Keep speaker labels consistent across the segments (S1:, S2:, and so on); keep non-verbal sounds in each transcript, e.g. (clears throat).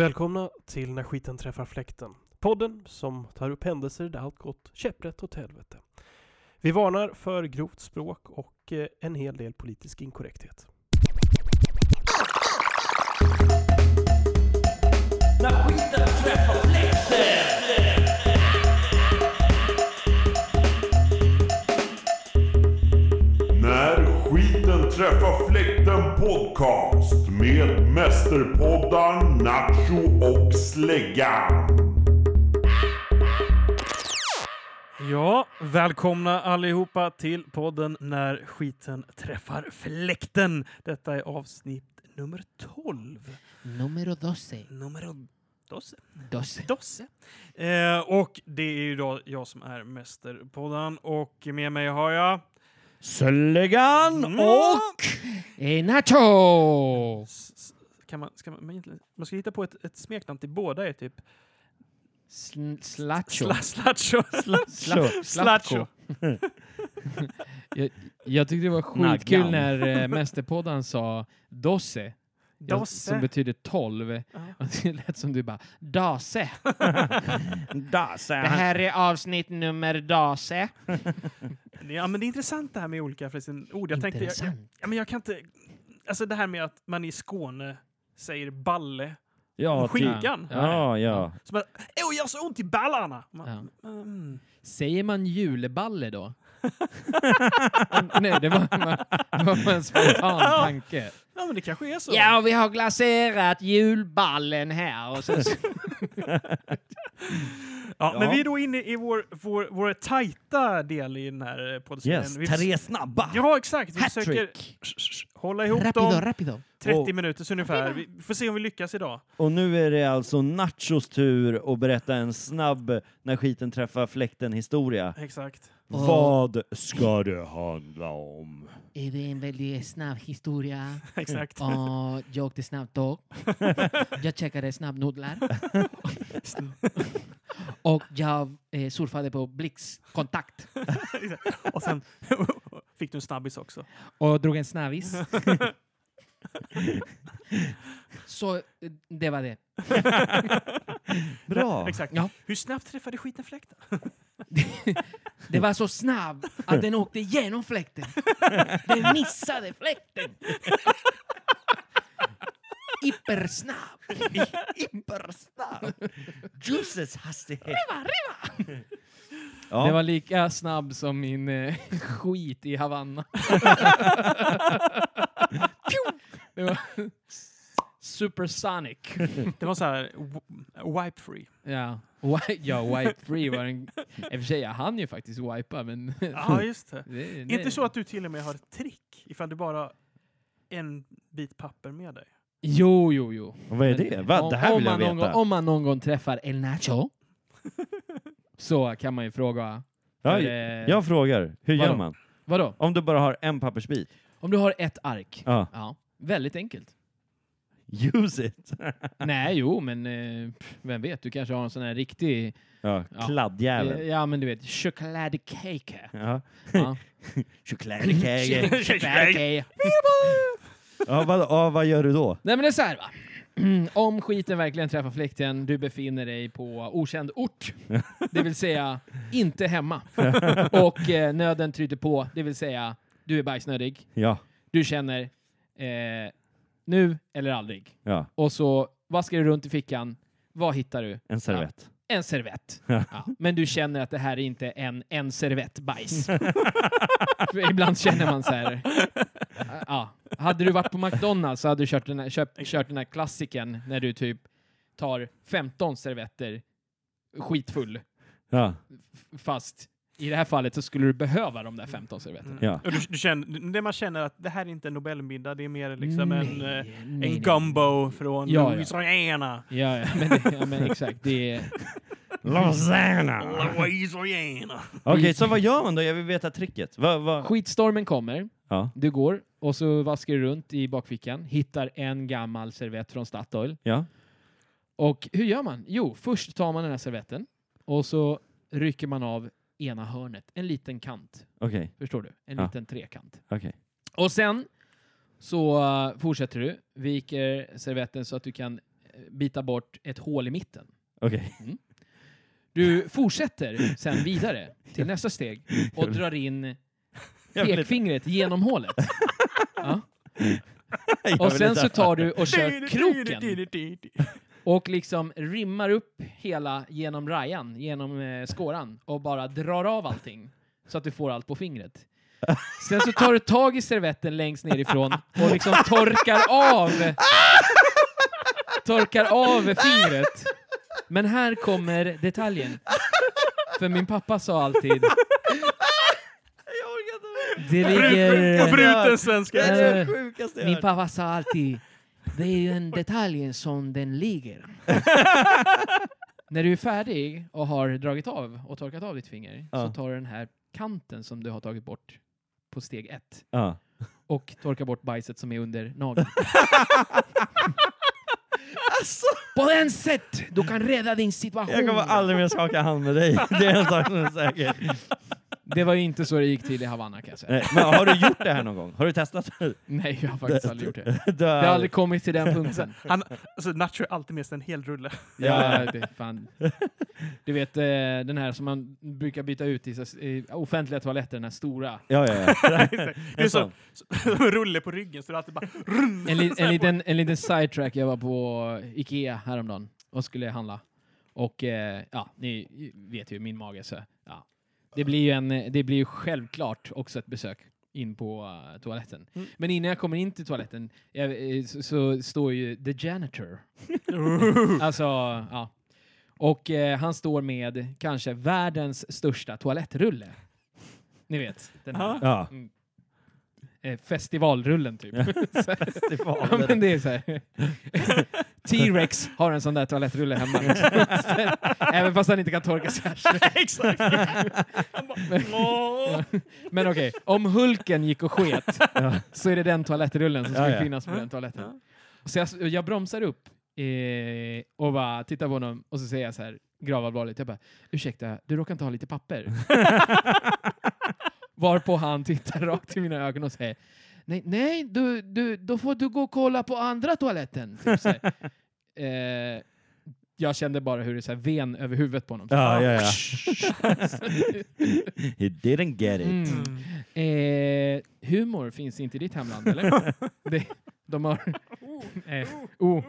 S1: Välkomna till När skiten träffar fläkten. Podden som tar upp händelser där allt gått käpprätt åt helvete. Vi varnar för grovt språk och eh, en hel del politisk inkorrekthet.
S2: När skiten träffar fläkten podcast med mästerpoddar Nacho och Släggan.
S1: Ja, välkomna allihopa till podden När skiten träffar fläkten. Detta är avsnitt nummer 12.
S3: Número 12.
S1: Nummer 12.
S3: 12.
S1: Dosse. Eh, och det är ju då jag som är mästerpodden och med mig har jag Mm.
S3: Söllegan
S1: och-
S3: eh, Nacho!
S1: S- s- Kan man, ska man, man, egentligen- man ska hitta på ett, ett smeknamn till båda är typ
S3: Sl- Slacho.
S1: sla, Slacho. sla-
S3: Sla-
S1: Slacho.
S4: (laughs) jag, jag tyckte det var skitkul
S3: Naggan.
S4: när eh, Mästerpodden sa Dosse, jag- som
S1: Dosse.
S4: betyder tolv.
S1: Ja.
S4: Och Det lät som du bara Dase.
S3: Det här är avsnitt nummer Dase.
S1: Ja, men det är intressant det här med olika förresten, ord. Jag tänkte, jag, jag,
S3: Intressant.
S1: ja, men jag kan inte... Alltså det här med att man i Skåne säger balle.
S5: Ja,
S1: Skit.
S5: typ.
S1: Skinkan.
S5: Ja, ja.
S1: Så man, Åh, jag har så ont i ballarna! Man,
S4: Ja.
S1: mm.
S4: Säger man julballe då? (laughs) Nej, det var, det var en spontan tanke.
S1: Ja, men det kanske är så.
S3: Ja, vi har glaserat julballen här.
S1: (laughs)
S3: Och så,
S1: Ja, Men
S5: Ja.
S1: vi är då inne i vår, vår, vår tajta del i den här eh, poddserien.
S5: Yes,
S1: vi
S5: tre snabba.
S1: Ja, exakt. Vi försöker
S3: Hattrick.
S1: hålla ihop
S3: Rapido,
S1: dem.
S3: rapido.
S1: 30
S5: Och-
S1: minuter ungefär. Vi får se om vi lyckas idag.
S5: Och nu är det alltså Nachos tur att berätta en snabb när skiten träffar fläkten historia.
S1: Exakt.
S3: Och-
S5: Vad ska det handla om?
S3: Det är en väldigt snabb historia.
S1: (laughs) Exakt.
S3: Och jag åkte snabbt
S1: (laughs)
S3: tåg. Jag checkade snabbnudlar. Och jag eh, surfade på blixtkontakt.
S1: Och sen (laughs) fick du en snabbis
S4: (laughs)
S1: också.
S3: Och drog en
S1: (laughs)
S3: snabbis. Så eh, det var det.
S5: Bra!
S1: (laughs) Exakt.
S3: Ja.
S1: Hur snabbt träffade skiten fläkten?
S3: Det var så snabb att den åkte genom fläkten. Den missade fläkten. Hypersnabb.
S5: Hypersnabb! Juices hastighet! Riva, riva!
S4: Det
S5: Ja,
S4: var lika snabb som min eh, skit i Havanna. Pju! det var supersonic.
S1: Det var så här w- wipe free.
S4: Ja, Wi- ja wipe free var en... I och för sig, jag hann ju faktiskt wipa, men...
S1: (laughs) Ja, just det.
S4: (laughs) det,
S1: Är Inte så att du till och med har ett trick ifall du bara har en bit papper med
S4: (laughs)
S1: dig?
S4: Jo, jo, jo.
S5: vad är det? Va? Det här
S4: om,
S5: vill jag
S4: man någon, gång-
S5: veta.
S4: om man någon gång träffar El Nacho så kan man ju fråga...
S5: Ja,
S4: för, eh,
S5: Jag frågar, hur gör
S4: Vadå?
S5: man?
S4: Vadå?
S5: Om du bara har en pappersbit?
S4: Om du har ett ark?
S5: Ja.
S4: Ja. Väldigt enkelt.
S5: Use it!
S4: Nej, jo, men eh, pff, vem vet, du kanske har en sån här riktig...
S5: Ja,
S4: Ja. eh,
S5: kladdjäveln.
S4: Ja, men du vet, chokladkaka.
S5: Ja.
S4: Ja.
S5: (laughs) Chokladkaka.
S3: Chokladkaka.
S5: Ja, vad, ja, vad gör du då?
S4: Nej men det är så här va. (clears throat) Om skiten verkligen träffar fläkten, du befinner dig på okänd ort. Det vill säga, inte hemma. Och eh, nöden tryter på, det vill säga, du är bajsnödig.
S5: Ja,
S4: Du känner, eh, nu eller aldrig.
S5: ja,
S4: Och så vaskar du runt i fickan. Vad hittar du?
S5: en servett.
S4: En servett. Ja. Men du känner att det här är inte en, en servett bajs. För ibland känner man så här. Ja. Hade du varit på McDonalds så hade du kört den här, köpt, kört den här klassiken när du typ tar 15 servetter skitfull.
S5: Ja,
S4: F- Fast i det här fallet så skulle du behöva de där 15 servetterna.
S5: ja.
S1: Mm. Och du, du känner, det man känner att det här är inte en Nobelmiddag, det är mer liksom en, eh,
S3: Nej, nej,
S1: en gumbo från
S4: Ja, ja.
S1: Louisiana.
S4: Ja, ja, men, det- ja, men exakt. Det är,
S5: Lausanne!
S1: Louisiana.
S5: Okej, så vad gör man då? Jag vill veta tricket. Va, va?
S4: skitstormen kommer.
S5: Ja,
S4: Du går och så vaskar du runt i bakfickan, hittar en gammal servett från Statoil.
S5: ja,
S4: Och hur gör man? Jo, först tar man den här servetten och så rycker man av ena hörnet, en liten kant.
S5: okej,
S4: Förstår du? En
S5: Ja.
S4: liten trekant.
S5: okej.
S4: Och sen så eh, fortsätter du, viker eh, servetten så att du kan eh, bita bort ett hål i mitten.
S5: Okej.
S4: Du fortsätter sen vidare till nästa steg och drar in
S5: (laughs) Jag vill inte-
S4: pekfingret genom hålet. Ja.
S5: jag vill
S4: Och sen
S5: inte (laughs)
S4: så
S5: höra.
S4: tar du
S1: (laughs)
S4: och kör kroken och liksom rimmar upp hela genom rajan, genom eh, skåran och bara drar av allting så att du får allt på fingret. Sen så tar du tag i servetten längst nerifrån och liksom torkar av torkar av fingret. Men här kommer detaljen. För min pappa sa alltid det ligger...
S6: Bruten svenska.
S1: (laughs)
S5: Det är det
S4: Eh,
S5: sjukaste jag
S4: Min
S5: hört.
S4: pappa sa alltid, det är ju den detaljen som den ligger. (laughs) När du är färdig och har dragit av och torkat av ditt finger
S5: Ja.
S4: så tar du den här kanten som du har tagit bort på steg ett
S5: Ja.
S4: och torkar bort bajset som är under nageln. (laughs)
S1: Alltså.
S4: På den sätt du kan rädda din situation.
S5: Jag kommer aldrig mer skaka hand med dig. (laughs) Det är en sak som är säker.
S4: Det var ju inte så det gick till i Havanna kan jag säga.
S5: Nej, Men har du gjort det här någon gång? Har du testat? (laughs) det?
S4: Nej, jag har faktiskt aldrig gjort det.
S5: Du
S4: Det har aldrig kommit till
S5: (laughs)
S4: den punkten.
S1: Han, alltså Nacho är alltid med sig en hel rulle.
S4: Ja, det är fan. Du vet eh, den här som man brukar byta ut i, så- i offentliga toaletter, den här stora.
S5: Ja, ja, ja. (laughs)
S1: Det är så, så, en rulle på ryggen så det är alltid bara... Run,
S4: En, li,
S1: så
S4: en,
S1: här på-
S4: liten, en liten sidetrack, jag var på Ikea häromdagen och skulle handla. Och eh, ja, ni vet ju min mage så ja. Det blir ju, en, det blir ju självklart också ett besök in på eh, toaletten. Men innan jag kommer in till toaletten jag, eh, så, så står ju the janitor. alltså, ja. Och eh, han står med kanske världens största toalettrulle. Ni vet, den här mm,
S5: ja.
S4: eh, festivalrullen typ. Ja,
S5: Festivalen.
S4: men det är så här. (laughs) T-Rex har en sån där toalettrulle (laughs) hemma. Även fast han inte kan torka sig.
S1: (laughs) Exakt! (laughs) Han bara, åh.
S4: Men okej, om Hulken gick och sket
S5: (laughs) Ja.
S4: så är det den toalettrullen som skulle
S5: Ja, ja.
S4: finnas på den toaletten. Så jag, jag bromsar upp eh, och bara tittar på honom och så säger jag så här gravallvarligt. Jag bara, ursäkta, du råkar inte ha
S5: (laughs)
S4: lite papper? Varpå han tittar rakt i mina ögon och säger, nej, nej du, du, då får du gå och kolla på andra toaletten. Typ
S5: (laughs)
S4: så här. eh, jag kände bara hur det så här ven över huvudet på honom.
S5: Ja, ja, (laughs) ja. He didn't get it.
S4: Mm. Eh, humor finns inte i ditt
S1: (laughs)
S4: hemland, eller? det, de har... eh, oh.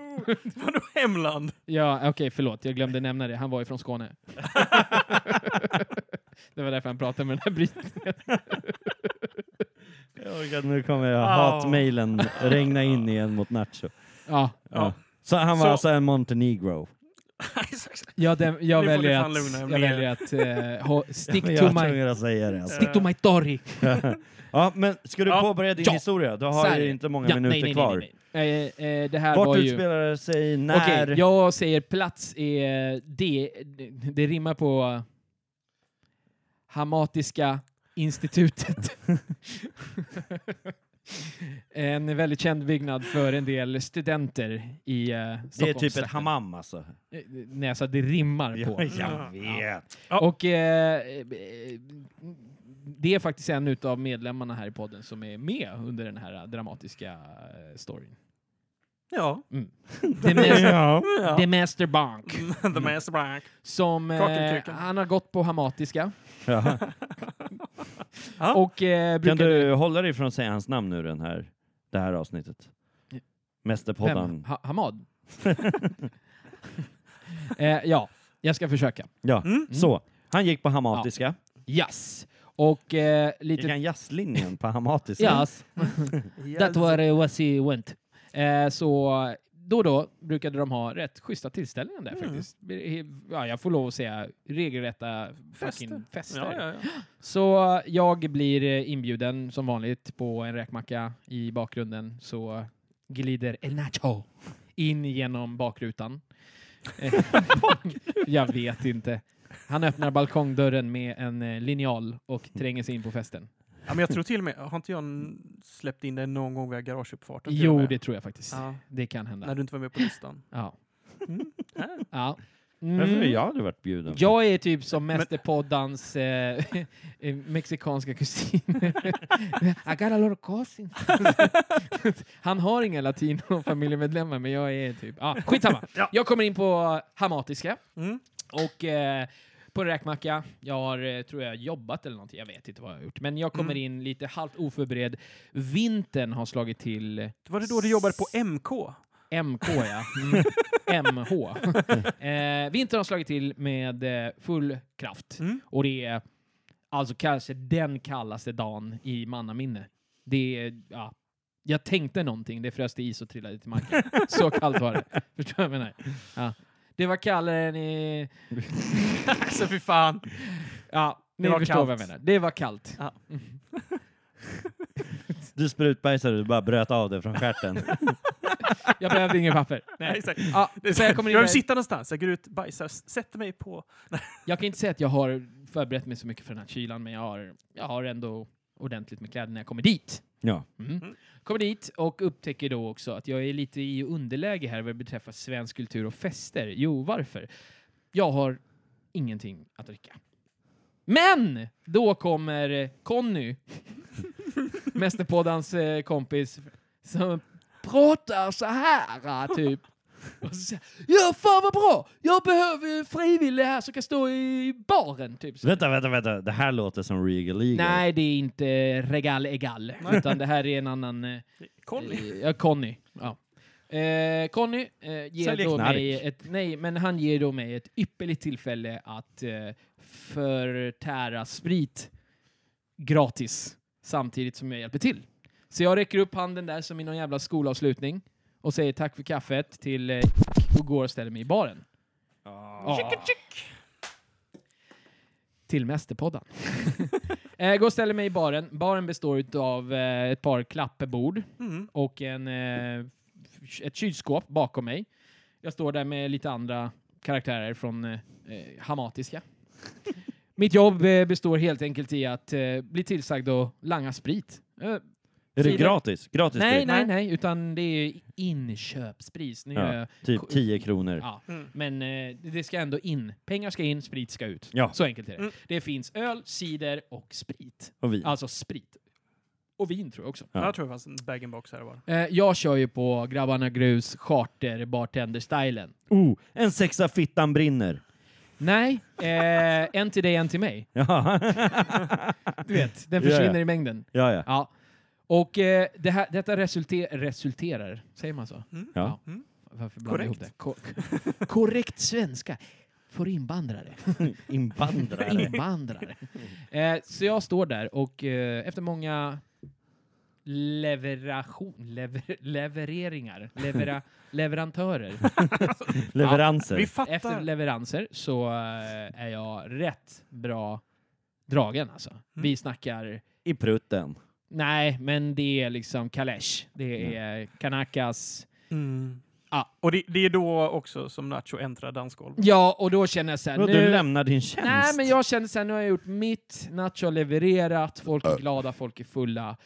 S1: Vadå
S4: (laughs)
S1: hemland?
S4: Ja, okej, förlåt. Jag glömde nämna det. Han var ju
S1: (laughs)
S4: från Skåne. det var därför han pratade med den här brytningen.
S5: Jag orkar, nu kommer hatmejlen regna in igen mot Nacho.
S4: Ja,
S5: Ja. Så han var
S1: Så-
S5: alltså en Montenegro.
S4: jag, dem- jag
S1: Nu får ni
S4: väljer
S1: fan
S4: att,
S1: lugna er
S4: jag
S1: ner.
S4: väljer att eh, ha, stick,
S5: Men jag
S4: to
S5: var
S4: my,
S5: tvungen att säga det. Alltså.
S4: stick to my story.
S5: (laughs) Ja, men ska du
S1: Ja.
S5: påbörja din
S4: Ja.
S5: historia? Du
S4: Så
S5: har
S4: här är
S5: ju
S4: det.
S5: inte många
S4: Ja,
S5: minuter
S4: nej, nej,
S5: kvar.
S4: Nej, nej, nej. Eh, eh, det här var
S5: Vart
S4: ju...
S5: utspelar det sig?
S4: Okej,
S5: När?
S4: jag säger plats är... Det, det rimmar på Hamatiska institutet. (laughs) en väldigt känd byggnad för en del studenter i eh,
S5: det är typ ett
S4: Stockholmstrakten.
S5: hammam alltså.
S4: Eh, Nej, alltså det rimmar på.
S5: Jag vet.
S4: Och eh, eh, det är faktiskt en utav medlemmarna här i podden som är med under den här dramatiska eh, storyn.
S1: Ja.
S4: The, mas-
S5: (laughs) Ja.
S4: the Master Bank.
S1: The Master Black.
S4: Som eh,
S1: Kakelkuken.
S4: han har gått på hamatiska. (laughs)
S5: Ja.
S1: Ja.
S4: Och eh,
S5: Kan
S4: brukade...
S5: du hålla dig från att säga hans namn nu den här, det här avsnittet?
S4: Vem?
S5: Mästerpodden.
S4: Ha
S5: (laughs)
S4: Hamad? (laughs) eh, ja, jag ska försöka.
S5: Ja.
S4: Mm.
S5: Så, han gick på hamatiska.
S4: Yes. Och eh,
S5: Gick
S4: lite...
S5: han jazzlinjen på hamatiska?
S4: Yes. That was, was he went. Eh, så då och då brukade de ha rätt schyssta tillställningar där
S1: Mm.
S4: faktiskt. Ja, jag får lov att säga regelrätta fester. fester.
S1: Ja, ja, ja.
S4: Så jag blir eh, inbjuden som vanligt på en räkmacka i bakgrunden så glider El Nacho in genom bakrutan. Eh, jag vet inte. Han öppnar balkongdörren med en eh, linjal och tränger sig in på festen.
S1: ja, men jag tror till och med, har inte jag n- släppt in dig någon gång via garageuppfarten? till och
S4: Jo,
S1: med?
S4: det tror jag faktiskt.
S1: Ja,
S4: Det kan hända.
S1: när du inte var med på listan.
S4: Ja. ja.
S5: Varför har
S4: Mm.
S5: jag aldrig varit bjuden?
S4: Jag är typ som mästerpoddans eh, (laughs) eh, mexikanska kusin. (laughs) I got a lot of cousins. (laughs) Han har inga latino-familjemedlemmar, men jag är typ... Ah, skitsamma. Jag kommer in på hamatiska.
S1: Mm.
S4: Och eh, på räkmacka, jag har, eh, tror jag, jobbat eller någonting. Jag vet inte vad jag har gjort. Men jag kommer in lite halvt oförberedd. Vintern har slagit till
S1: Var det då du jobbade på MK?
S4: MK, ja. Mm. MH. (laughs) eh, vintern har slagit till med eh, full kraft.
S1: Mm.
S4: Och det är alltså kanske den kallaste dagen i mannaminne. Det är, ja. Jag tänkte någonting, det frös till is och trillade till
S1: (laughs)
S4: marken. Så kallt var det. Förstår du vad jag menar? Ja. Det var kallare
S1: (laughs)
S4: än i...
S1: alltså fy fan.
S4: Ja, ni
S1: Det var
S4: förstår
S1: kallt.
S4: vad jag menar. Det var kallt.
S5: Du sprutbajsade, du bara bröt av det från stjärten.
S4: Jag behövde inget papper.
S1: (laughs) Nej, exakt.
S4: Ja, så jag kommer in
S1: jag
S4: där.
S1: vill sitta någonstans. Jag går ut, bajsar, s- sätter mig på...
S4: Jag kan inte säga att jag har förberett mig så mycket för den här kylan, men jag har, jag har ändå ordentligt med kläder när jag kommer dit.
S5: Ja.
S4: Mm. Kommer dit och upptäcker då också att jag är lite i underläge här vad beträffar svensk kultur och fester. Jo, varför? Jag har ingenting att dricka. Men! Då kommer eh, Conny, (laughs) Mästerpoddans eh, kompis, som pratar så här, eh, typ. Och så säger han, ja fan vad bra! Jag behöver ju frivilliga här som kan stå i baren, typ. Så.
S5: Vänta, vänta, vänta. Det här låter som Regal Eagle.
S4: Nej, det är inte Regal Egal, utan det här är en annan... eh,
S1: Conny.
S4: Eh, Ja, Conny. Ja. Eh, Conny eh, ger
S5: Säljer
S4: då
S5: knark.
S4: mig ett, nej, men han ger då mig ett ypperligt tillfälle att eh, förtära sprit gratis samtidigt som jag hjälper till. Så jag räcker upp handen där som i någon jävla skolavslutning och säger tack för kaffet till eh, och går och ställer mig i baren. Ah. Till Mästerpodden. (laughs) eh, går och ställer mig i baren. Baren består av eh, ett par klappbord
S1: Mm.
S4: och en, eh, f- ett kylskåp bakom mig. Jag står där med lite andra karaktärer från eh, eh, Hamatiska. Mitt jobb eh, består helt enkelt i att eh, bli tillsagd att langa sprit. Eh,
S5: Är det
S4: Sida-
S5: gratis? Gratis
S4: nej,
S5: sprit?
S4: nej, nej, utan det är inköpspris. Nu
S5: Ja.
S4: är jag,
S5: Typ 10 kronor.
S4: ja.
S1: Mm.
S4: Men eh, det ska ändå in. Pengar ska in, sprit ska ut.
S5: Ja.
S4: Så enkelt är det.
S1: Mm.
S4: Det finns öl, cider och sprit.
S5: Och vi.
S4: Alltså sprit. Och vin tror jag också.
S5: Ja.
S1: Jag tror det fanns en bag-in-box här bara.
S4: Eh, jag kör ju på Grabbarna Grus charter bartender-stylen.
S5: Oh, en sexa fittan brinner. (laughs)
S4: Nej, eh, en till dig, en till mig.
S5: Ja,
S4: Du vet, den
S5: Ja, ja.
S4: försvinner i mängden.
S5: ja, ja.
S4: Ja. Och eh, det här, detta resulte- resulterar, säger man så?
S5: ja.
S4: Varför blandar jag ihop det? Ko- korrekt svenska. För invandrare.
S5: Invandrare.
S4: (laughs) invandrare. Eh, så jag står där och eh, efter många leveration, lever, levereringar, levera, leverantörer,
S5: Leveranser.
S1: Vi fattar.
S4: efter leveranser så eh, är jag rätt bra dragen alltså.
S1: Mm.
S4: Vi snackar
S5: I prutten.
S4: Nej, men det är liksom Kalesh. Det är Kanakas.
S1: Mm.
S4: Ja.
S1: Och det, det är då också som Nacho äntrar dansgolv.
S4: Ja, och då känner jag så här,
S5: Vadå, Du
S4: nu...
S5: lämnar din tjänst.
S4: Nej, men jag känner så här, nu har jag gjort mitt. Nacho har levererat, folk är glada, folk är fulla.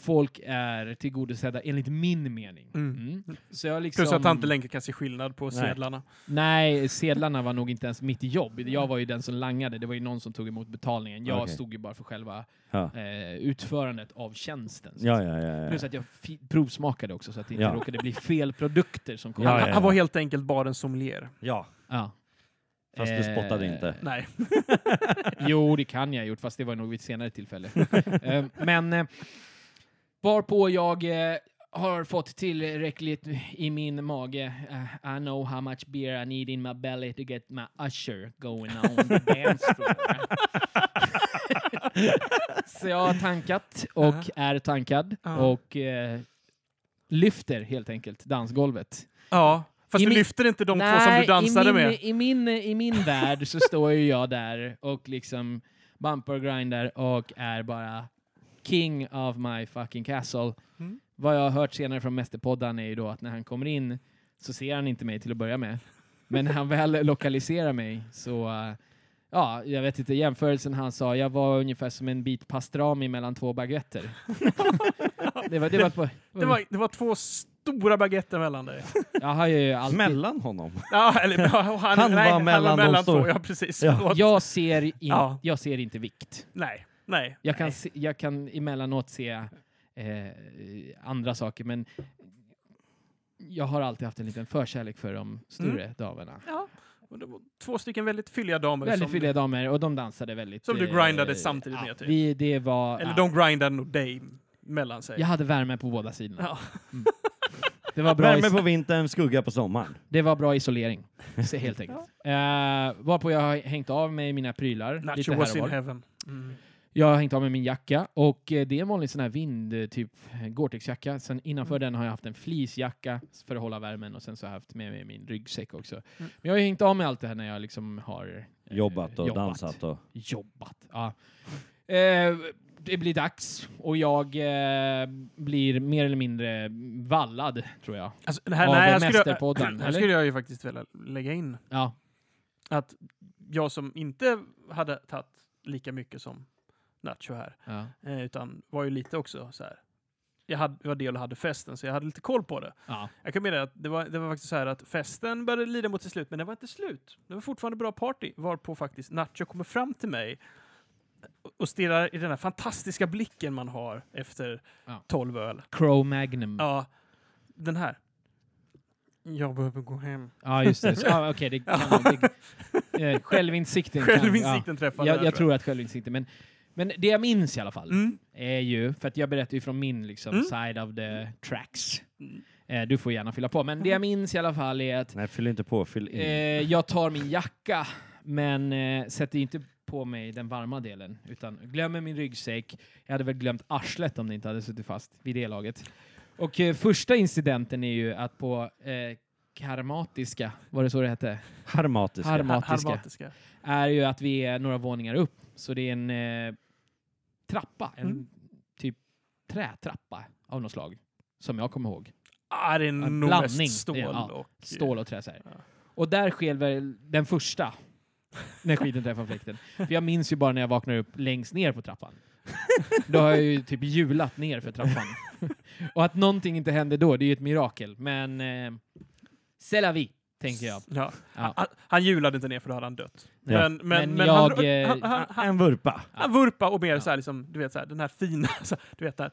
S4: Folk är tillgodosedda enligt min mening.
S1: Mm.
S4: Mm. Så jag liksom...
S1: Plus att han inte längre kan se skillnad på sedlarna.
S4: Nej, sedlarna var nog inte ens mitt jobb. Jag var ju den som langade. Det var ju någon som tog emot betalningen. Jag
S5: Okej.
S4: stod ju bara för själva
S5: Ja.
S4: eh, utförandet av tjänsten. så
S5: Ja,
S4: att
S5: ja, ja. ja.
S4: Plus att jag fi- provsmakade också så att det inte
S5: Ja.
S4: råkade bli fel produkter som kom.
S5: Ja, ja,
S1: Han,
S5: ja.
S1: han var helt enkelt barens sommelier.
S5: ja.
S4: Ja.
S5: Fast du
S4: Eh,
S5: spottade inte.
S1: Nej.
S4: (laughs) Jo, det kan jag ha gjort, fast det var nog vid ett senare tillfälle. Eh, Men eh, varpå jag eh, har fått tillräckligt i min mage. Eh, I know how much beer I need in my belly to get my usher going on the dance floor. Så jag har tankat och är tankad
S1: Ja.
S4: och eh, lyfter helt enkelt dansgolvet.
S1: Ja. Fast
S4: I
S1: du
S4: min-
S1: lyfter inte de
S4: Nej,
S1: två som du dansade
S4: i min,
S1: med.
S4: I min, I min värld så står ju jag där och liksom bumper grindar och är bara king of my fucking castle.
S1: Mm.
S4: Vad jag har hört senare från Mästerpoddan är ju då att när han kommer in så ser han inte mig till att börja med. Men när han väl lokaliserar mig så, eh, ja, jag vet inte, jämförelsen han sa, jag var ungefär som en
S1: (laughs)
S4: bit pastrami mellan två baguetter. det var, det var, på,
S1: Det var, det var två st- stora baguetter mellan (laughs) dig.
S4: Jag har ju alltid...
S5: Mellan honom.
S1: Ja, eller, ja, han,
S5: Han var
S1: nej,
S5: mellan
S1: han
S5: de
S1: var mellan två.
S5: stora.
S1: Ja, precis.
S5: Ja.
S1: Förlåt.
S4: Jag ser, in,
S1: Ja.
S4: jag ser inte vikt.
S1: Nej, nej.
S4: Jag kan,
S1: nej.
S4: se, jag kan emellanåt se eh, andra saker, men jag har alltid haft en liten förkärlek för de större
S1: Mm.
S4: damerna.
S1: Ja. Och det var två stycken väldigt fylliga damer.
S4: Väldigt
S1: som-
S4: fylliga damer och de dansade väldigt...
S1: Som du
S4: eh,
S1: grindade samtidigt med, typ.
S4: Vi, det var...
S1: Eller
S4: ja.
S1: de grindade nog dig mellan sig.
S4: Jag hade värme på båda sidorna. (laughs)
S1: Ja.
S4: Mm. Det, var bra
S5: Värme
S4: is-
S5: på vintern, skugga på sommaren.
S4: det var bra isolering, så helt enkelt.
S1: (laughs)
S4: Eh, varpå jag har hängt av mig mina prylar lite
S1: Nacho was
S4: här
S1: in
S4: och var.
S1: heaven. Mm.
S4: Jag har hängt av mig min jacka och eh, det är en vanlig sån här vind, eh, typ Gore-Tex-jacka. Sen innanför
S1: Mm.
S4: den har jag haft en fleecejacka för att hålla värmen och sen så har jag haft med mig min ryggsäck också.
S1: Mm.
S4: Men jag har ju hängt av mig allt det här när jag liksom har eh,
S5: Jobbat och dansat och...
S4: jobbat. Ja. Eh, det blir dags och jag eh, blir mer eller mindre vallad, tror jag.
S1: Alltså, det här,
S4: Av
S1: nej, här skulle,
S4: Mästerpodden,
S1: jag, här
S4: eller?
S1: skulle jag ju faktiskt vilja lägga in
S4: Ja.
S1: att jag som inte hade tagit lika mycket som Nacho här,
S4: ja.
S1: eh, utan var ju lite också så här. Jag hade, jag var del och hade festen, så jag hade lite koll på det.
S4: ja.
S1: Jag kan meddela att det var, det var faktiskt så här att festen började lida mot sitt slut, men det var inte slut. Det var fortfarande bra party, varpå faktiskt Nacho kommer fram till mig och- och stirrar i den här fantastiska blicken man har efter
S4: Ja. Mm.
S1: 12 öl.
S4: Crow Magnum. Ja,
S1: Ja, den här. Jag behöver gå hem.
S4: just det. Så, ja, okej, det kan nog-
S1: (laughs)
S4: det, eh, självinsikten. kan-
S1: Självinsikten
S4: Ja.
S1: träffade
S4: Jag,
S1: den,
S4: jag tror att självinsikten, men, men det jag minns i alla fall
S1: Mm.
S4: är ju, för att jag berättar ju från min liksom,
S1: Mm.
S4: side of the tracks.
S1: Mm.
S4: Eh, du får gärna fylla på, men det jag minns i alla fall är att
S5: Nej, fyll inte på, fyll
S1: Mm.
S5: in.
S4: Eh, jag tar min jacka, men eh, sätter ju inte på mig den varma delen, utan glömmer min ryggsäck. Jag hade väl glömt arslet om det inte hade suttit fast vid det laget. Och eh, första incidenten är ju att på eh, karmatiska, var det så det hette?
S5: Harmatisk.
S4: Harmatiska.
S1: Harmatiska.
S4: Är ju att vi är några våningar upp, så det är en eh, trappa, en
S1: Mm.
S4: typ trätrappa av något slag, som jag kommer ihåg.
S1: Ah, det är
S4: En
S1: nog
S4: blandning.
S1: mest stål
S4: Det är- ja,
S1: och...
S4: Stål och trä så här.
S1: Ja.
S4: Och där sker väl den första. När skiten träffar fläkten. För jag minns ju bara när jag vaknar upp längst ner på trappan. Då har jag ju typ hjulat ner för trappan. Och att någonting inte hände då, det är ju ett mirakel. Men... Eh, c'est la vie, tänker jag.
S1: Ja.
S4: Ja.
S1: Han, han julade inte ner för då hade han dött.
S5: Ja.
S1: Men, men, men,
S4: Men
S1: han,
S4: jag, eh,
S1: han, han, han,
S5: En vurpa.
S1: han vurpa och mer
S4: Ja.
S1: så här, liksom, du vet, så här, den här fina, (laughs) så, här, du vet, där,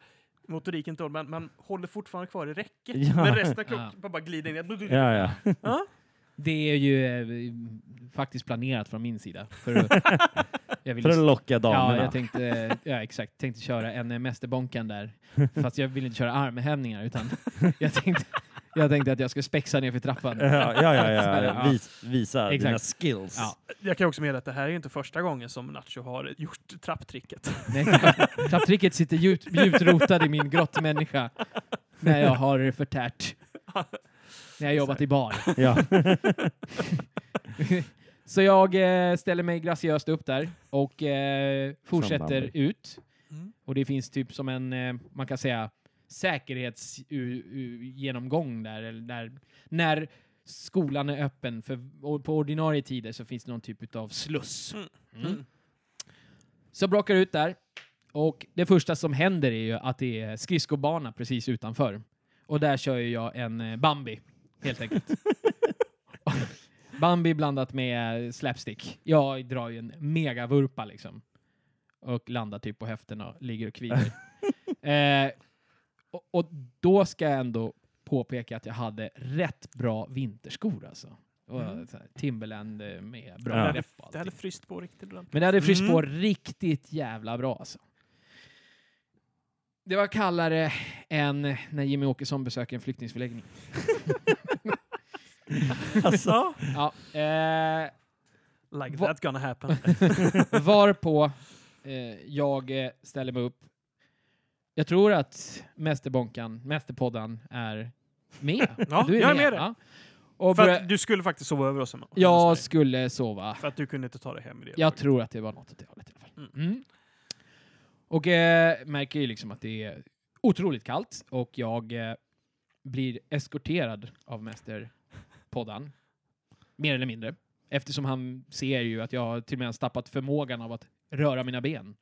S1: motoriken tål, men man håller fortfarande kvar i räcket.
S5: Ja.
S1: Men resten av
S4: Ja.
S1: kroppen bara glider ner.
S5: Ja, ja.
S4: Det är ju eh, faktiskt planerat från min sida. För
S5: (laughs)
S4: att, jag ville
S5: För att locka damerna.
S4: Ja, jag tänkte, eh, ja, exakt, tänkte köra en eh,
S5: (laughs)
S4: mästerbonkan där. Fast jag ville inte köra armhävningar utan (laughs) jag tänkte, jag tänkte att jag skulle spexa ner för trappan.
S5: (laughs) ja, ja, ja, ja,
S4: (laughs) Ja.
S5: ja. Vis, visa
S4: Exakt.
S5: dina skills.
S4: Ja.
S1: Jag kan också meddela att det här är ju inte första gången som Nacho har gjort trapptricket.
S5: (laughs)
S4: Nej, Trapptricket sitter djupt, djupt rotad i min grottmänniska när jag har förtärt. När jag jobbat i bar.
S5: (laughs) Ja.
S4: (laughs) Så jag eh, ställer mig graciöst upp där och eh, fortsätter
S5: Sandhammer.
S4: ut.
S1: Mm.
S4: Och det finns typ som en, eh, man kan säga, säkerhetsgenomgång där. Eller där när skolan är öppen, för och på ordinarie tider så finns det någon typ av sluss.
S1: Mm.
S4: Mm. Så jag brakar ut där. Och det första som händer är ju att det är skridskobana precis utanför. Och där kör ju jag en eh, Bambi, helt enkelt. Bambi blandat med eh, slapstick. Jag drar ju en megavurpa liksom. Och landar typ på höften och ligger och kvider. eh, och, och då ska jag ändå påpeka att jag hade rätt bra vinterskor alltså. Och, så här, Timberland eh, med bra
S5: Ja.
S4: grepp
S5: Det hade-
S4: och allting.
S1: Det hade fryst på riktigt ordentligt.
S4: Men det hade fryst på
S1: Mm.
S4: riktigt jävla bra alltså. Det var kallare än när Jimmy Åkesson besöker en flyktingförläggning.
S5: Alltså,
S4: Ja, eh,
S1: Like
S4: Va-
S1: that's gonna
S4: (laughs)
S1: happen.
S4: varpå eh, jag eh, ställer mig upp. Jag tror att Mästerbonkan, Mästerpoddan, är med.
S1: Ja, jag är med där.
S4: ja. Och
S1: För
S4: börja-
S1: att du skulle faktiskt sova över oss hemma.
S4: jag skulle sova.
S1: För att du kunde inte ta dig hem i det.
S4: Jag tror att det var något åt det hållet i alla fall. Mm. Och eh, märker ju liksom att det är otroligt kallt och jag eh, blir eskorterad av mästerpoddan. Mer eller mindre. Eftersom han ser ju att jag har till och med ens tappat förmågan av att röra mina (laughs) ben.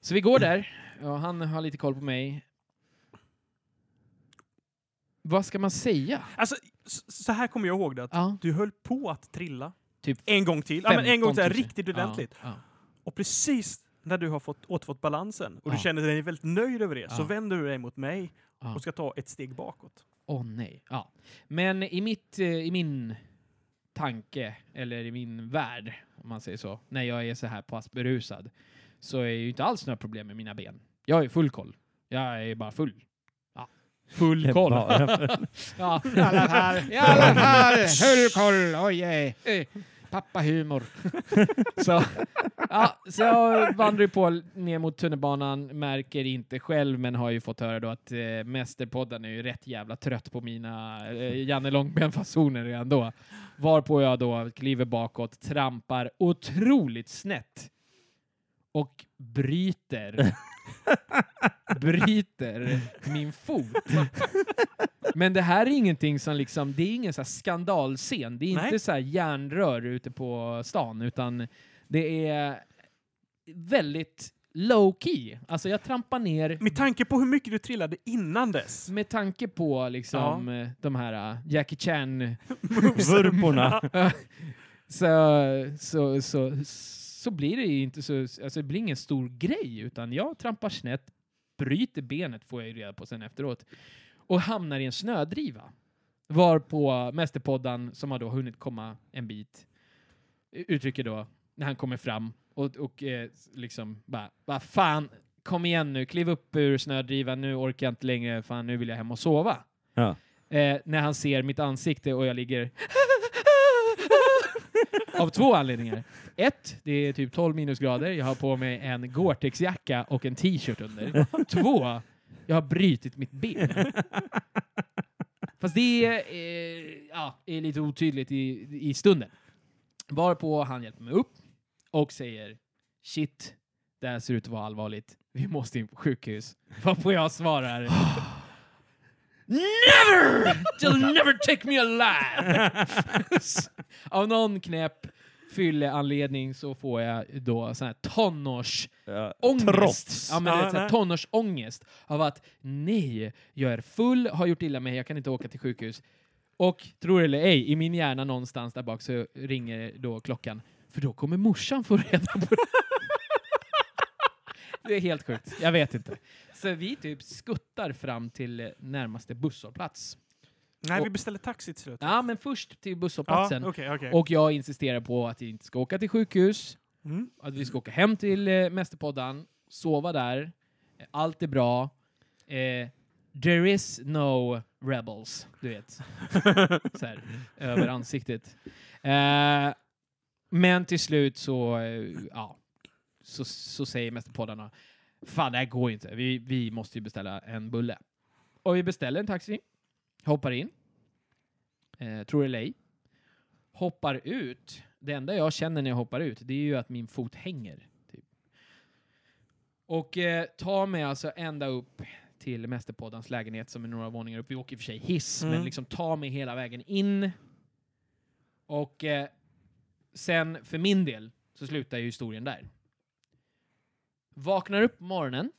S4: Så vi går där och han har lite koll på mig. Vad ska man säga?
S1: Alltså, s- så här kommer jag ihåg det. Att
S4: Ja,
S1: Du höll på att trilla.
S4: Typ
S1: En gång till. Ja, men en gång till,
S4: 15 000.
S1: riktigt ordentligt.
S4: Ja,
S1: Och precis när du har fått, återfått balansen och
S4: Ja.
S1: du känner dig väldigt nöjd över det så
S4: Ja.
S1: vänder du dig mot mig
S4: ja, ja.
S1: och ska ta ett steg bakåt.
S4: Åh nej. Ja. Men i, mitt, eh, i min tanke, eller i min värld, om man säger så, när jag är så här pass berusad, så är ju inte alls några problem med mina ben. Jag är full koll. Jag är bara full. Ja. Full koll. (laughs) Ja, i alla fall. I alla fall. (laughs) Full koll. Oj, oj, oj. Pappa humor. så, ja, så jag vandrar ju på ner mot tunnelbanan, märker inte själv, men har ju fått höra då att eh, Mästerpodden är ju rätt jävla trött på mina eh, Janne Långben-fasoner redan då. Varpå jag då kliver bakåt, trampar otroligt snett och bryter bryter min fot. Men det här är ingenting som liksom, det är ingen så här skandalscen. Det är
S1: Nej.
S4: inte så här järnrör ute på stan, utan det är väldigt low key. Alltså jag trampar ner
S1: Med tanke på hur mycket du trillade innan dess.
S4: med tanke på liksom eh, de här eh, Jackie Chan
S5: Vurporna.
S4: (laughs) så, så, så, så blir det ju inte så, alltså det blir ingen stor grej, utan jag trampar snett, bryter benet får jag ju reda på sen efteråt, och hamnar i en snödriva. Varpå Mästerpoddan, som har då hunnit komma en bit, uttrycker då, när han kommer fram och, och eh, liksom bara, vad fan, kom igen nu, kliv upp ur snödrivan, nu orkar jag inte längre, fan nu vill jag hem och sova.
S5: Ja.
S4: Eh, när han ser mitt ansikte och jag ligger av två anledningar. Ett, det är typ 12 minusgrader. Jag har på mig en Gore-Tex-jacka och en t-shirt under. Två, jag har brutit mitt ben. Fast det är, eh, ja, är lite otydligt i, i stunden. Varpå han hjälper mig upp och säger shit, det här ser ut att vara allvarligt. Vi måste in på sjukhus. Varpå jag svarar Never! They'll never take me alive! Av någon knäpp fylleanledning så får jag då sån här tonårs
S5: Ja.
S4: ångest. Ja, men
S5: Ja,
S4: det är så här
S5: nej.
S4: tonårsångest av att nej, jag är full, har gjort illa mig, jag kan inte åka till sjukhus. Och tror det eller ej, i min hjärna någonstans där bak så ringer då klockan. För då kommer morsan få reda på det. (laughs) Det är helt sjukt, jag vet inte. Så vi typ skuttar fram till eh, närmaste busshållplats.
S1: Nej,
S4: Och-
S1: vi beställde taxi till slut.
S4: Ja, men först till
S1: Ja,
S4: busshållplatsen.
S1: okej, okej.
S4: Och jag insisterar på att jag inte ska åka till sjukhus,
S1: Mm.
S4: att vi ska åka hem till eh, Mästerpoddan, sova där, eh, allt är bra. Eh, there is no rebels, du vet. så här, över ansiktet. Eh, men till slut så, eh, ja, så, så säger Mästerpoddarna, fan det här går ju inte, vi, vi måste ju beställa en bulle. Och vi beställer en taxi, hoppar in, eh, tror det eller ej, hoppar ut, det enda jag känner när jag hoppar ut, det är ju att min fot hänger. Typ. Och eh, tar mig alltså ända upp till Mästerpoddans lägenhet som är några våningar upp. Vi åker i och för sig hiss,
S1: Mm.
S4: men liksom tar mig hela vägen in. Och eh, sen, för min del, så slutar ju historien där. Vaknar upp på morgonen.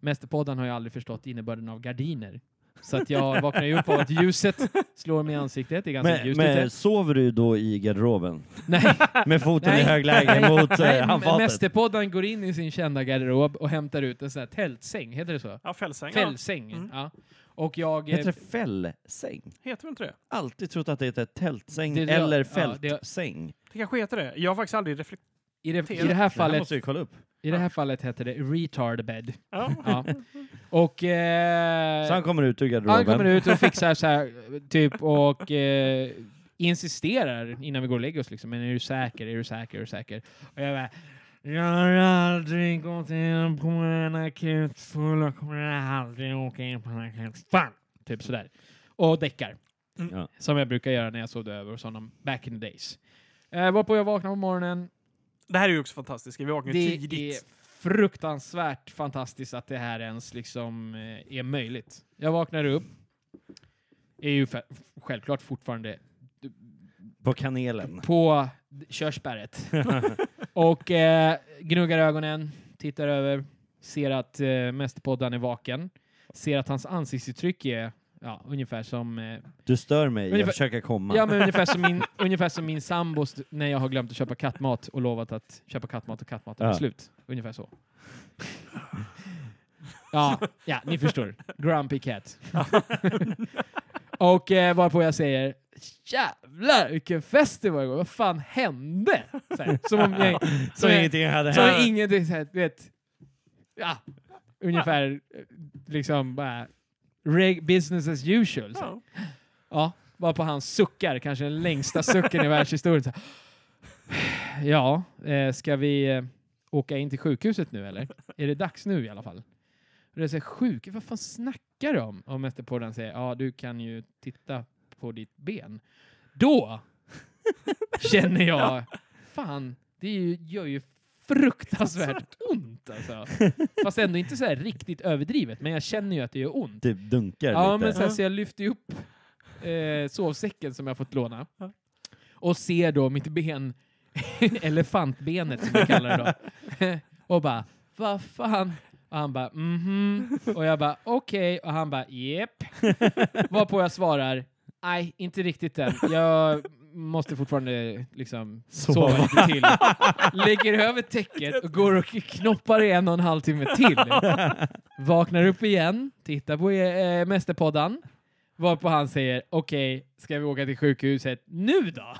S4: Mästerpodden har ju aldrig förstått innebörden av gardiner. Så att jag vaknar ju upp av att ljuset slår mig i ansiktet. Det är ganska
S5: Men,
S4: ljust
S5: men
S4: ute.
S5: sover du då i
S4: (laughs)
S5: garderoben?
S4: Nej,
S5: Med foten
S4: Nej.
S5: i eh, högläge mot
S4: nej,
S5: eh,
S4: m-
S5: handfatet?
S4: Mästerpodden går in i sin kända garderob och hämtar ut en sån här tältsäng, heter det så?
S1: Ja, fällsängar.
S4: Fällsäng.
S1: Mm.
S4: Ja. Och jag... eh,
S5: Heter det fällsäng?
S1: Heter det inte det?
S5: Alltid trott att det heter tältsäng
S4: Det- det-
S5: eller
S4: ja,
S5: fältsäng.
S1: Det kanske heter det. Jag har faktiskt aldrig reflekterat.
S4: i, det, i, det här fallet,
S5: kolla upp.
S4: I det här fallet heter det retard bed.
S1: Ja.
S4: Ja.
S5: (laughs)
S4: Och... Eh,
S5: Så han kommer ut ur
S4: Han
S5: garderoben.
S4: kommer ut och fixar så här, typ, och eh, insisterar innan vi går och lägger oss liksom. Men är du säker? Är du säker? Är du säker? Och jag bara, jag har aldrig gått in på en akut full och kommer aldrig åka in på en akut Fan! Typ sådär. Och däckar.
S1: Mm.
S5: Ja.
S4: Som jag brukar göra när jag sov över hos honom back in the days. Eh, varpå jag vaknar på morgonen.
S1: (laughs) Det här är ju också fantastiskt. Vi vaknade
S4: Det
S1: tidigt.
S4: är fruktansvärt fantastiskt att det här ens liksom eh, är möjligt. Jag vaknar upp, är ju fe- självklart fortfarande
S5: På kanelen.
S4: på d- körsbäret. och eh, gnuggar ögonen, tittar över, ser att eh, Mästerpoddan är vaken, ser att hans ansiktsuttryck är Ja, ungefär som... Eh,
S5: Du stör mig, jag
S4: Ungefär-
S5: försöker komma.
S4: ja, men ungefär som
S5: (laughs)
S4: min, ungefär som min sambo st- när jag har glömt att köpa kattmat och lovat att köpa kattmat och kattmaten är
S5: Ja.
S4: slut. Ungefär så. Ja, ja, ni förstår.
S5: (laughs)
S4: Grumpy cat. och eh, varpå jag säger Jävlar vilken fest det var igår, vad fan hände? Så här, som om
S5: (laughs)
S4: jag,
S5: som ingenting hade
S4: Så
S5: hänt.
S4: ingenting, så här, du vet. Ja, ungefär eh, liksom bara reg- business as usual. Så. här.
S1: Ja.
S4: Ja, bara på hans suckar, kanske den längsta sucken i världshistorien. Så. här. Ja, eh, ska vi eh, åka in till sjukhuset nu eller? Är det dags nu i alla fall? Och det säger sjuk, vad fan snackar du om? Och mästerpodden säger, ja du kan ju titta på ditt ben. Då känner jag, fan, det är ju, gör ju fruktansvärt ont alltså. Fast ändå inte så här riktigt överdrivet, men jag känner ju att det gör ont.
S5: Typ dunkar
S4: Ja,
S5: lite.
S4: men så, här,
S1: Ja.
S4: så jag lyfter ju upp eh, sovsäcken som jag fått låna och ser då mitt ben, (laughs) elefantbenet som vi kallar det då, (laughs) och bara vad fan? Och han bara mhm. Och jag bara okej. Och han bara jepp. Varpå jag svarar nej, inte riktigt än. Jag måste fortfarande liksom
S5: Sova.
S4: sova lite till. Lägger över täcket och går och knoppar i en och en halv timme till. Vaknar upp igen, tittar på eh, Mästerpodden, varpå han säger okej, ska vi åka till sjukhuset nu då?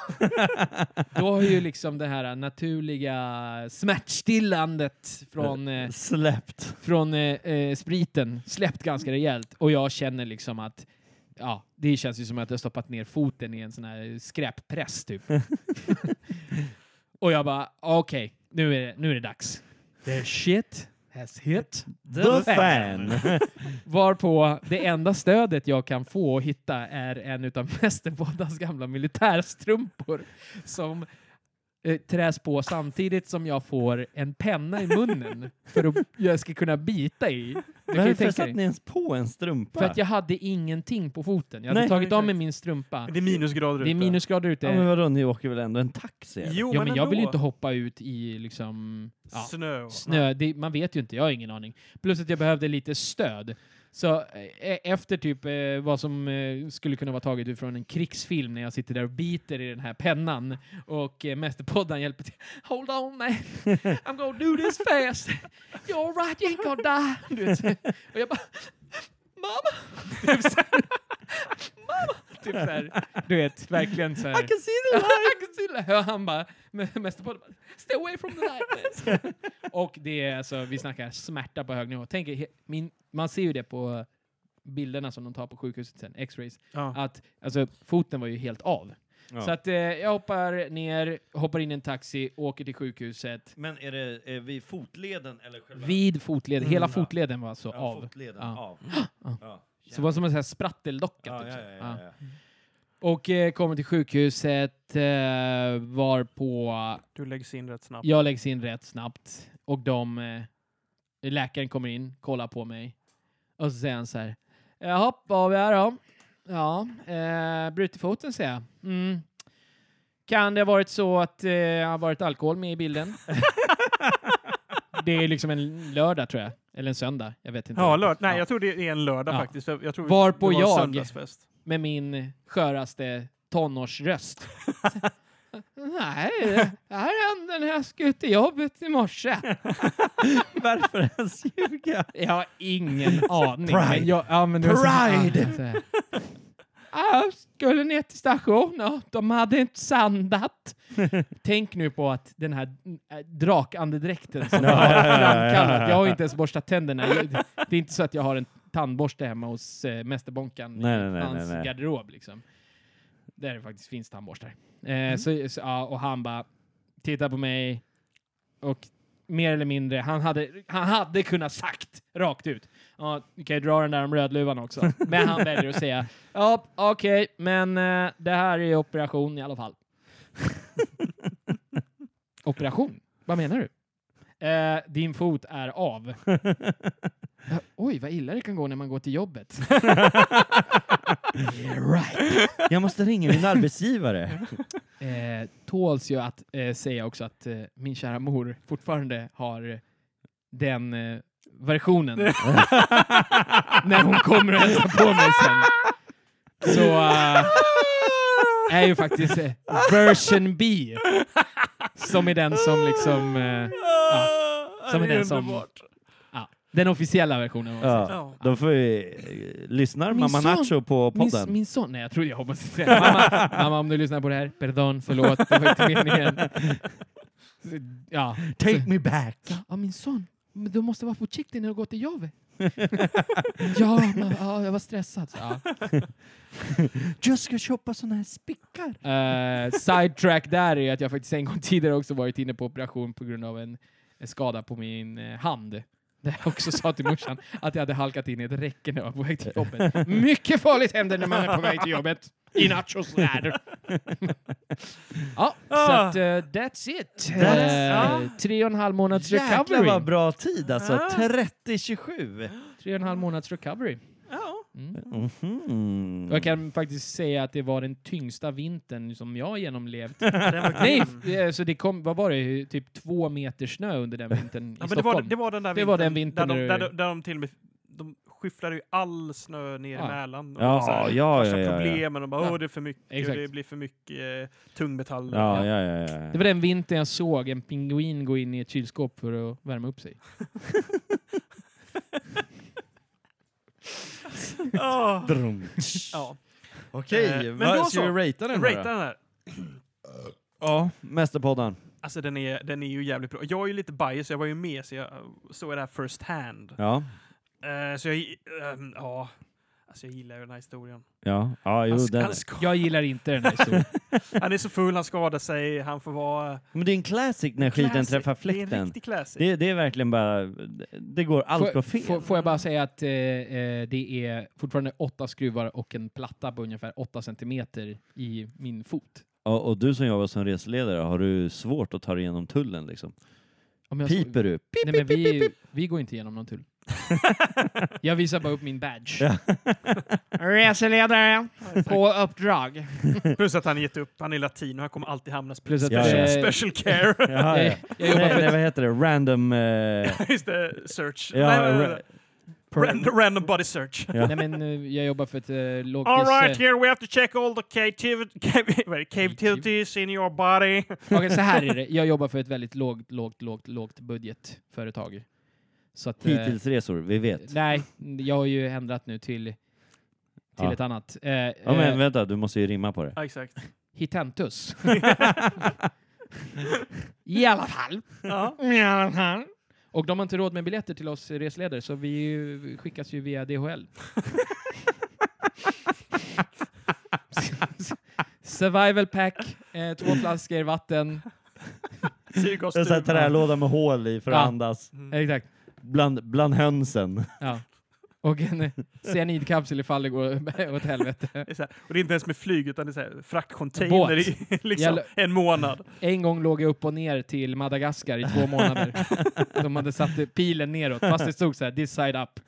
S4: (laughs) då har ju liksom det här naturliga smärtstillandet från, eh,
S5: Släppt.
S4: från eh, eh, spriten släppt ganska rejält och jag känner liksom att Ja, det känns ju som att jag stoppat ner foten i en sån här skräppress (laughs) typ. och jag bara, okej, nu, är det- nu är det dags. The shit has hit
S5: The fan!
S4: Varpå det enda stödet jag kan få och hitta är en utav (laughs) Mästerpoddens gamla militärstrumpor som eh, träs på samtidigt som jag får en penna i munnen för att (laughs) jag ska kunna bita i. Du kan ju
S5: Varför
S4: tänka
S5: satte
S4: dig.
S5: ni ens på en strumpa?
S4: För att jag hade ingenting på foten. Jag hade
S5: Nej.
S4: tagit av mig min strumpa.
S1: Det är minusgrader
S4: Det är
S1: ute.
S4: minusgrader ute.
S5: Ja, men vadå, ni åker väl ändå en taxi? eller?
S1: Jo,
S4: Ja, men jag vill ju
S1: ändå.
S4: inte hoppa ut i liksom... Ja.
S1: Snö.
S4: Snö, det, man vet ju inte, jag har ingen aning. Plus att jag behövde lite stöd. Så eh, efter typ eh, vad som eh, skulle kunna vara taget ifrån en krigsfilm när jag sitter där och biter i den här pennan och eh, Mästerpodden hjälper till. Hold
S5: (laughs)
S4: on man, I'm gonna do this fast. You're right, you ain't gonna die. Du vet, så. och jag bara, mamma! (laughs) Typ så här. Mamma! Typ så här. Du vet, verkligen så här.
S5: I can see the light.
S4: I (laughs) can see the light. Och han bara, med- Mästerpodden bara, stay away from the light.
S5: (laughs)
S4: man." och det är alltså, vi snackar smärta på hög nivå. Tänk, er, he- min, man ser ju det på bilderna som de tar på sjukhuset sen, x-rays,
S1: Ja.
S4: att alltså, foten var ju helt av.
S5: Ja.
S4: Så att eh, jag hoppar ner, hoppar in i en taxi, åker till sjukhuset.
S5: Men är det är vid fotleden eller själva
S4: Vid fotleden, hela
S5: Mm, Ja.
S4: fotleden var alltså
S5: ja,
S4: av.
S5: Fotleden,
S4: (gasps) Ja.
S5: av. Ja.
S4: Så det var som en sån här spratteldocka.
S5: Ja,
S4: typ
S5: ja,
S4: så.
S5: ja,
S4: Ja.
S5: ja, ja.
S4: Och eh, kommer till sjukhuset, eh, varpå
S1: Du läggs in rätt snabbt.
S4: jag läggs in rätt snabbt och de, eh, läkaren kommer in, kollar på mig och så säger han så här. Jaha, vad har vi här då? Ja, eh, brutit foten säger jag. Mm. Kan det ha varit så att eh, har varit alkohol med i bilden? (laughs) det är liksom en lördag tror jag, eller en söndag, jag vet inte.
S1: Ja, lörd- Nej, jag tror det är en lördag
S4: Ja.
S1: faktiskt. Jag jag tror
S4: Varpå
S1: det var en
S4: jag- (laughs)
S1: söndagsfest. (laughs)
S4: med min sköraste
S1: (laughs)
S4: tonårsröst. Nej, det här hände när jag skulle till jobbet i morse.
S5: (laughs) Varför ens ljuga?
S4: Jag har ingen aning.
S5: Pride.
S4: Men jag, ja, men det var så-
S5: Pride.
S4: Ja, så här. Ja, Jag skulle ner till stationen. De hade inte sandat. Tänk nu på att den här äh, drakandedräkten som jag har framkallat. Jag har inte ens borstat tänderna. Det är inte så att jag har en tandborste hemma hos äh, Mästerbonkan
S5: Nej,
S4: i
S5: nej, nej,
S4: hans
S5: nej, nej.
S4: garderob. Liksom. Där det faktiskt finns tandborstar. Eh,
S5: Mm.
S4: så, så, ja, och han bara tittar på mig och mer eller mindre, han hade, han hade kunnat sagt rakt ut. Ja, du kan ju dra den där om
S5: (laughs)
S4: rödluvan också. Men han väljer att säga, ja okej, men eh, det här är operation i
S5: (laughs)
S4: alla fall. operation? Vad menar du? Eh, din fot
S5: (laughs)
S4: är av. Eh, Oj, vad illa det kan gå när man går till jobbet. yeah, right.
S5: Jag måste ringa min arbetsgivare.
S4: Eh, tåls ju att eh, säga också att eh, min kära mor fortfarande har den eh, versionen. När hon kommer och hälsar på mig sen. så eh, är ju faktiskt eh, version B. Som är den som liksom... eh,
S1: Ja,
S4: som
S1: det
S4: är den som-
S1: underbart.
S4: ja, den officiella versionen. om man säger.
S5: Ja. Då får vi... eh, Lyssnar
S4: Min
S5: mamma
S4: son-
S5: Nacho på
S4: Min,
S5: podden?
S4: min son, nej jag trodde jag hoppas säga. Mamma, mamma om du lyssnar på det här, perdon, förlåt, det var inte meningen. Ja,
S5: Take me back!
S4: ja min son, men du måste vara på utkik när du går till jobbet. ja, men, ja, jag var stressad. Så, ja.
S5: Jag ska köpa såna här spickar.
S4: Eh, sidetrack där är att jag faktiskt en gång tidigare också varit inne på operation på grund av en, en skada på min eh, hand. Där jag också sa till morsan att jag hade halkat in i ett räcke när jag var på väg till jobbet. Mycket farligt händer när man är på väg till jobbet. I nachos värld. ja, så att eh, that's it. Eh,
S5: Ah. That's-
S4: Tre och en halv månads
S5: Jäklar vad
S4: recovery.
S5: bra tid alltså.
S1: Ah.
S5: 30-27.
S4: Tre och en halv månads recovery.
S1: Ja.
S4: Mm.
S5: Mhm.
S4: Och Jag kan faktiskt säga att det var den tyngsta vintern som jag genomlevt.
S1: Den
S5: (laughs)
S1: var
S4: (laughs) Nej,
S1: grym.
S4: f- eh, så det kom, vad var det, typ två meter snö under den vintern i
S1: Ja, men det,
S4: Stockholm?
S1: var, det var den där
S4: Det var den vintern
S1: där, de,
S4: när
S1: där,
S4: du-
S1: de, där de till och med de skyfflade ju all snö ner
S4: Ja.
S1: i Mälaren. och
S5: Ja,
S1: så här,
S5: ja,
S1: värsta
S5: ja, ja, ja.
S1: problemen och bara
S4: Ja.
S1: åh det är för mycket,
S4: Exakt.
S1: och det blir för mycket eh, tungmetaller.
S5: Ja, ja, ja. ja.
S4: Det var den vintern jag såg en pingvin gå in i ett kylskåp för att värma upp sig.
S1: Ja.
S5: Drum.
S1: Ja.
S5: Okej,
S1: Eh, men då
S5: vad ska
S1: så.
S5: vi ratea den
S1: Rata
S5: här då?
S1: den här.
S5: Ja, Mästerpodden.
S1: Alltså den är, den är ju jävligt bra. Jag är ju lite bias, jag var ju med så jag eh, såg det här first hand.
S5: Ja,
S1: Eh, så jag, ehm, ja. Alltså jag gillar ju den här historien.
S5: ja, ja, jo,
S1: han,
S5: den.
S1: han, ska,
S4: Jag gillar inte den här historien.
S1: han är så full, han skadar sig, han får vara...
S5: Men det är en classic när skiten
S1: classic.
S5: träffar
S1: Det är en
S5: fläkten.
S1: riktig classic.
S5: Det, det är verkligen bara, det går, allt går fel.
S4: Får, får jag bara säga att eh, eh, det är fortfarande åtta skruvar och en platta på ungefär åtta centimeter i min fot.
S5: Och, och du som jobbar som reseledare, har du svårt att ta dig igenom tullen liksom?
S4: Om jag så-
S5: Piper du? Pip,
S4: Nej, men vi, vi går inte igenom
S5: (laughs)
S4: någon tull. jag visar bara upp min badge. Reseledare på uppdrag.
S1: Plus att han har gett upp, han är latino, han kommer alltid hamna
S4: Plus att
S5: Ja,
S4: eh,
S5: ja.
S1: special care. (laughs)
S5: Ja, ja.
S4: jag, jag jobbar
S5: Nej,
S4: för
S5: nej, vad heter det? Random... Eh,
S1: Just det, search.
S5: Ja,
S1: nej, nej, nej, nej.
S5: ra-
S1: Random, random body search.
S5: Ja.
S4: Nej, men eh, jag jobbar för ett eh, lågpris...
S1: All right,
S4: eh,
S1: here we have to check all the cavity- cav- vad är det? cavitivities in your body.
S4: eh, Okej, så här är det. Jag jobbar för ett väldigt lågt, lågt, lågt, lågt budgetföretag. Så att, eh,
S5: hitillsresor, vi vet.
S4: Nej, jag har ju ändrat nu till, till
S5: Ja.
S4: ett annat. Eh, ja,
S5: Ja, men vänta, du måste ju rimma på det.
S1: Ja, exakt.
S4: Hitentus. I alla fall.
S1: (laughs) Ja.
S4: I alla fall. Och de har inte råd med biljetter till oss resledare så vi eh, skickas ju via (laughs) DHL. Survival pack, eh, två flaskor vatten.
S5: En sån här
S1: Syrgastuben.
S5: trälåda med hål i för att
S4: Ja.
S5: andas.
S1: Mm.
S4: Exakt.
S5: Bland, bland hönsen. (laughs)
S4: Ja. Och en eh, cyanidkapsel ifall det går (laughs) åt helvete.
S1: Det är så här- Och det är inte ens med flyg, utan det är så här
S4: Båt.
S1: fraktcontainer i (laughs) liksom,
S4: Jävla-
S1: en månad.
S4: En gång låg jag upp och ner till Madagaskar i två månader. De hade satt pilen neråt, fast det stod så här, this side up.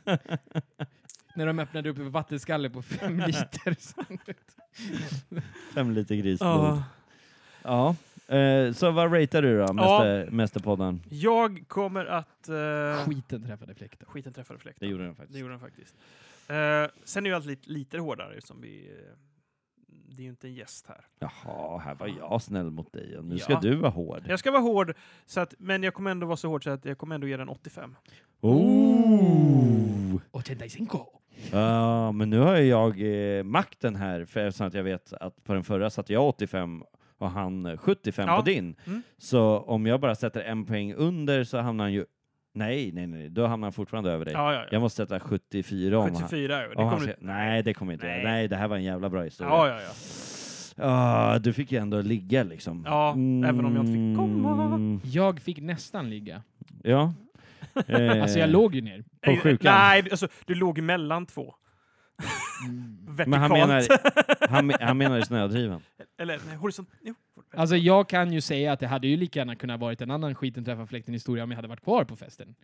S4: När de öppnade upp ett vattenskalle på fem liter.
S5: Fem liter grisblod.
S1: Ja.
S5: Ja. Eh, så vad ratear du då, mäster, Mästerpodden?
S1: Jag kommer att... eh,
S4: Skiten träffade fläkten.
S1: Skiten träffade fläkten.
S5: Det gjorde den
S1: Det
S5: faktiskt.
S1: gjorde den faktiskt. Eh, sen är ju allt lite, lite hårdare eftersom vi... eh, det är ju inte en gäst här.
S5: Jaha, här var jag snäll mot dig och nu
S1: Ja.
S5: ska du vara hård.
S1: Jag ska vara hård, så att, men jag kommer ändå vara så hård så att jag kommer ändå ge den 85.
S5: Oh.
S4: Och cinco.
S5: Ja, men nu har ju jag eh, makten här, för eftersom att jag vet att på den förra satte jag 85 och han eh, 75
S1: Ja.
S5: på din.
S1: Mm.
S5: Så om jag bara sätter en poäng under så hamnar han ju... Nej, nej, nej, då hamnar han fortfarande över dig.
S1: Ja, ja, ja.
S5: Jag måste sätta 74 om han...
S1: 74 ja. Det
S5: om han
S1: kommer du...
S5: ska- alltså, Nej, det kommer jag inte
S1: Nej.
S5: nej. nej, det här var en jävla bra historia.
S1: Ja, ja, ja.
S5: Ah, du fick ju ändå ligga liksom.
S1: Ja, även om jag inte fick komma.
S5: Mm,
S4: Jag fick nästan ligga.
S1: (laughs)
S5: Ja. Eh,
S4: Alltså jag låg ju ner.
S5: På
S1: Eh,
S5: sjukan.
S1: Nej, alltså, du låg mellan två. Vertikalt.
S5: Mm. Men han menar, han, me- han menar
S1: (laughs)
S5: i snödriven.
S1: Eller nej, horisont... Jo.
S4: Alltså jag kan ju säga att det hade ju lika gärna kunnat varit en annan skiten träffade fläkten historia om jag hade varit kvar på festen.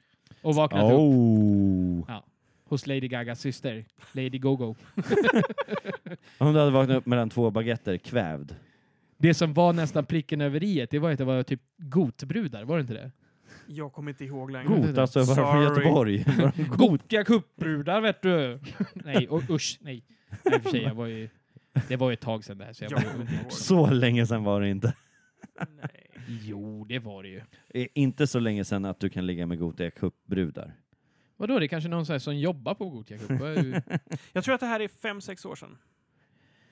S4: Och vaknat upp
S5: Oh.
S4: hos Lady Gagas syster, Lady Gogo.
S5: Om du hade vaknat upp mellan två baguetter, kvävd.
S4: Det som var nästan pricken över i det var ju att det var typ gotbrudar, var det inte det?
S1: Jag kommer inte ihåg längre.
S4: God.
S5: Got, alltså varför
S1: Mm. Sorry.
S5: Göteborg? (laughs)
S4: Gotiga kuppbrudar vet du! nej, och usch, nej. Nej, i och för sig, jag var ju Det var ju ett tag sedan det här. Så jag
S1: Jag
S4: bara,
S1: kommer inte ihåg.
S5: Så länge sedan var det inte.
S1: Nej.
S4: jo, det var det ju.
S5: Eh, Inte så länge sedan att du kan ligga med Gothia Cup-brudar.
S4: Vadå, det är kanske någon så här som jobbar på Gothia Cup? Vad är-
S1: Jag tror att det här är fem, sex år sedan.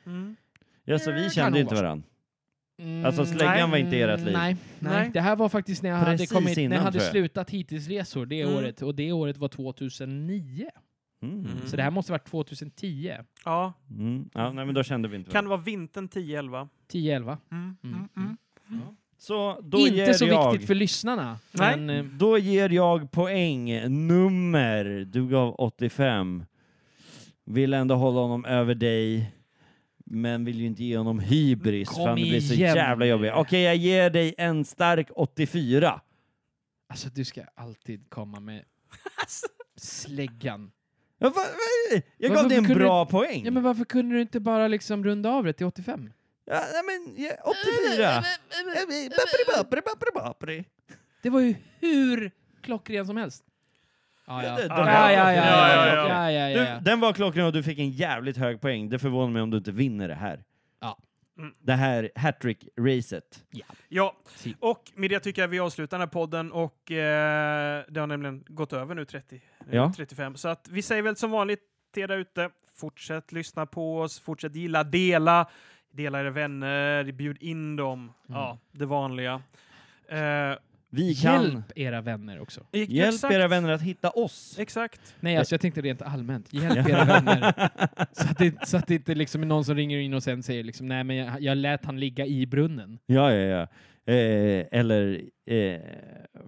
S1: Mm.
S5: Ja, så vi
S4: kan
S5: kände
S4: nog
S5: inte
S4: vara.
S5: varandra.
S4: Mm,
S5: Alltså, släggan var inte i ert liv.
S4: Nej. nej,
S1: Nej.
S4: det här var faktiskt när jag
S5: Precis
S4: hade, kommit, när
S5: innan,
S4: jag hade
S5: tror jag.
S4: slutat hitillsresor det
S1: Mm.
S4: året och det året var 2009.
S5: Mm.
S1: Mm.
S4: Så det här måste ha varit 2010.
S1: Ja,
S5: Mm. Ja, nej, men då kände vi inte
S1: kan det
S5: varandra.
S1: vara vintern 10-11?
S4: 10, 11.
S1: Mm.
S4: Mm,
S1: Mm.
S4: mm.
S1: Mm.
S5: Så då ger
S4: inte så
S5: jag...
S4: viktigt för lyssnarna.
S1: Nej.
S4: Men, eh,
S5: Då ger jag poäng nummer. Du gav 85. Vill ändå hålla honom över dig. Men vill ju inte ge honom hybris
S4: Kom
S5: för han blir så
S4: igen.
S5: jävla jobbig. Okej, jag ger dig en stark 84.
S4: alltså, du ska alltid
S5: (laughs)
S4: komma med
S5: Alltså.
S4: släggan.
S5: Ja, va, va, jag
S4: Varför
S5: gav dig en
S4: kunde
S5: bra poäng.
S4: Ja, men varför kunde du inte bara liksom runda av det till 85?
S5: Ja, nej, men, ja, 84. Bapperi, bapperi, bapperi, bapperi.
S4: Det var ju hur klockren som helst. Ja, ja.
S5: Det- det-
S4: Ja, ja, ja, ja,
S1: Ja,
S4: ja,
S1: ja, ja.
S4: ja, ja,
S5: Du,
S4: ja.
S5: den var klockren och du fick en jävligt hög poäng. Det förvånar mig om du inte vinner det här.
S4: Ja.
S1: Mm.
S5: Det här hattrick-racet.
S1: Ja,
S4: Si.
S1: och med det tycker jag vi avslutar den här podden och eh, det har nämligen gått över nu 30, nu
S5: Ja.
S1: 35. Så att vi säger väl som vanligt till er där ute, fortsätt lyssna på oss, fortsätt gilla, dela, dela era vänner, bjud in
S5: Mm.
S1: dem. Ja, det vanliga. Eh,
S5: Vi kan...
S4: Hjälp era vänner också.
S5: Hjälp
S1: exakt,
S5: era vänner att hitta oss.
S1: Exakt.
S4: Nej, alltså jag tänkte rent allmänt. Hjälp era (laughs) vänner. Så att det, så att det inte liksom är någon som ringer in och sen säger liksom, nej men jag, jag lät han ligga i brunnen.
S5: Ja, ja, ja. Eh, eller... Eh,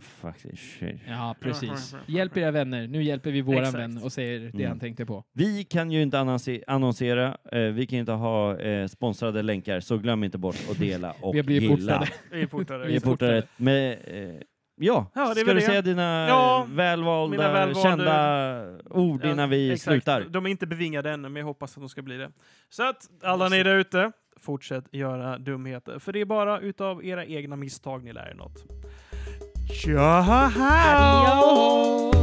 S5: faktiskt. shit.
S4: Ja, precis. Hjälp era vänner. Nu hjälper vi våran
S1: Exakt.
S4: vän och säger det
S5: Mm.
S4: han tänkte på.
S5: Vi kan ju inte annonse- annonsera, eh, vi kan inte ha eh, sponsrade länkar, så glöm inte bort att dela och
S4: Vi har blivit
S5: gilla.
S4: portade.
S1: Vi är portade.
S5: Vi är portade. Med, eh, ja,
S1: Ja, det är
S5: ska
S1: väl
S5: du
S1: det.
S5: säga dina
S1: Ja, mina
S5: välvalda,
S1: välvalda-
S5: kända ord
S1: Ja,
S5: innan vi
S1: exakt.
S5: slutar?
S1: De är inte bevingade ännu, men jag hoppas att de ska bli det. Så att alla ni där ute, fortsätt göra dumheter. För det är bara utav era egna misstag ni lär er något. Ciao!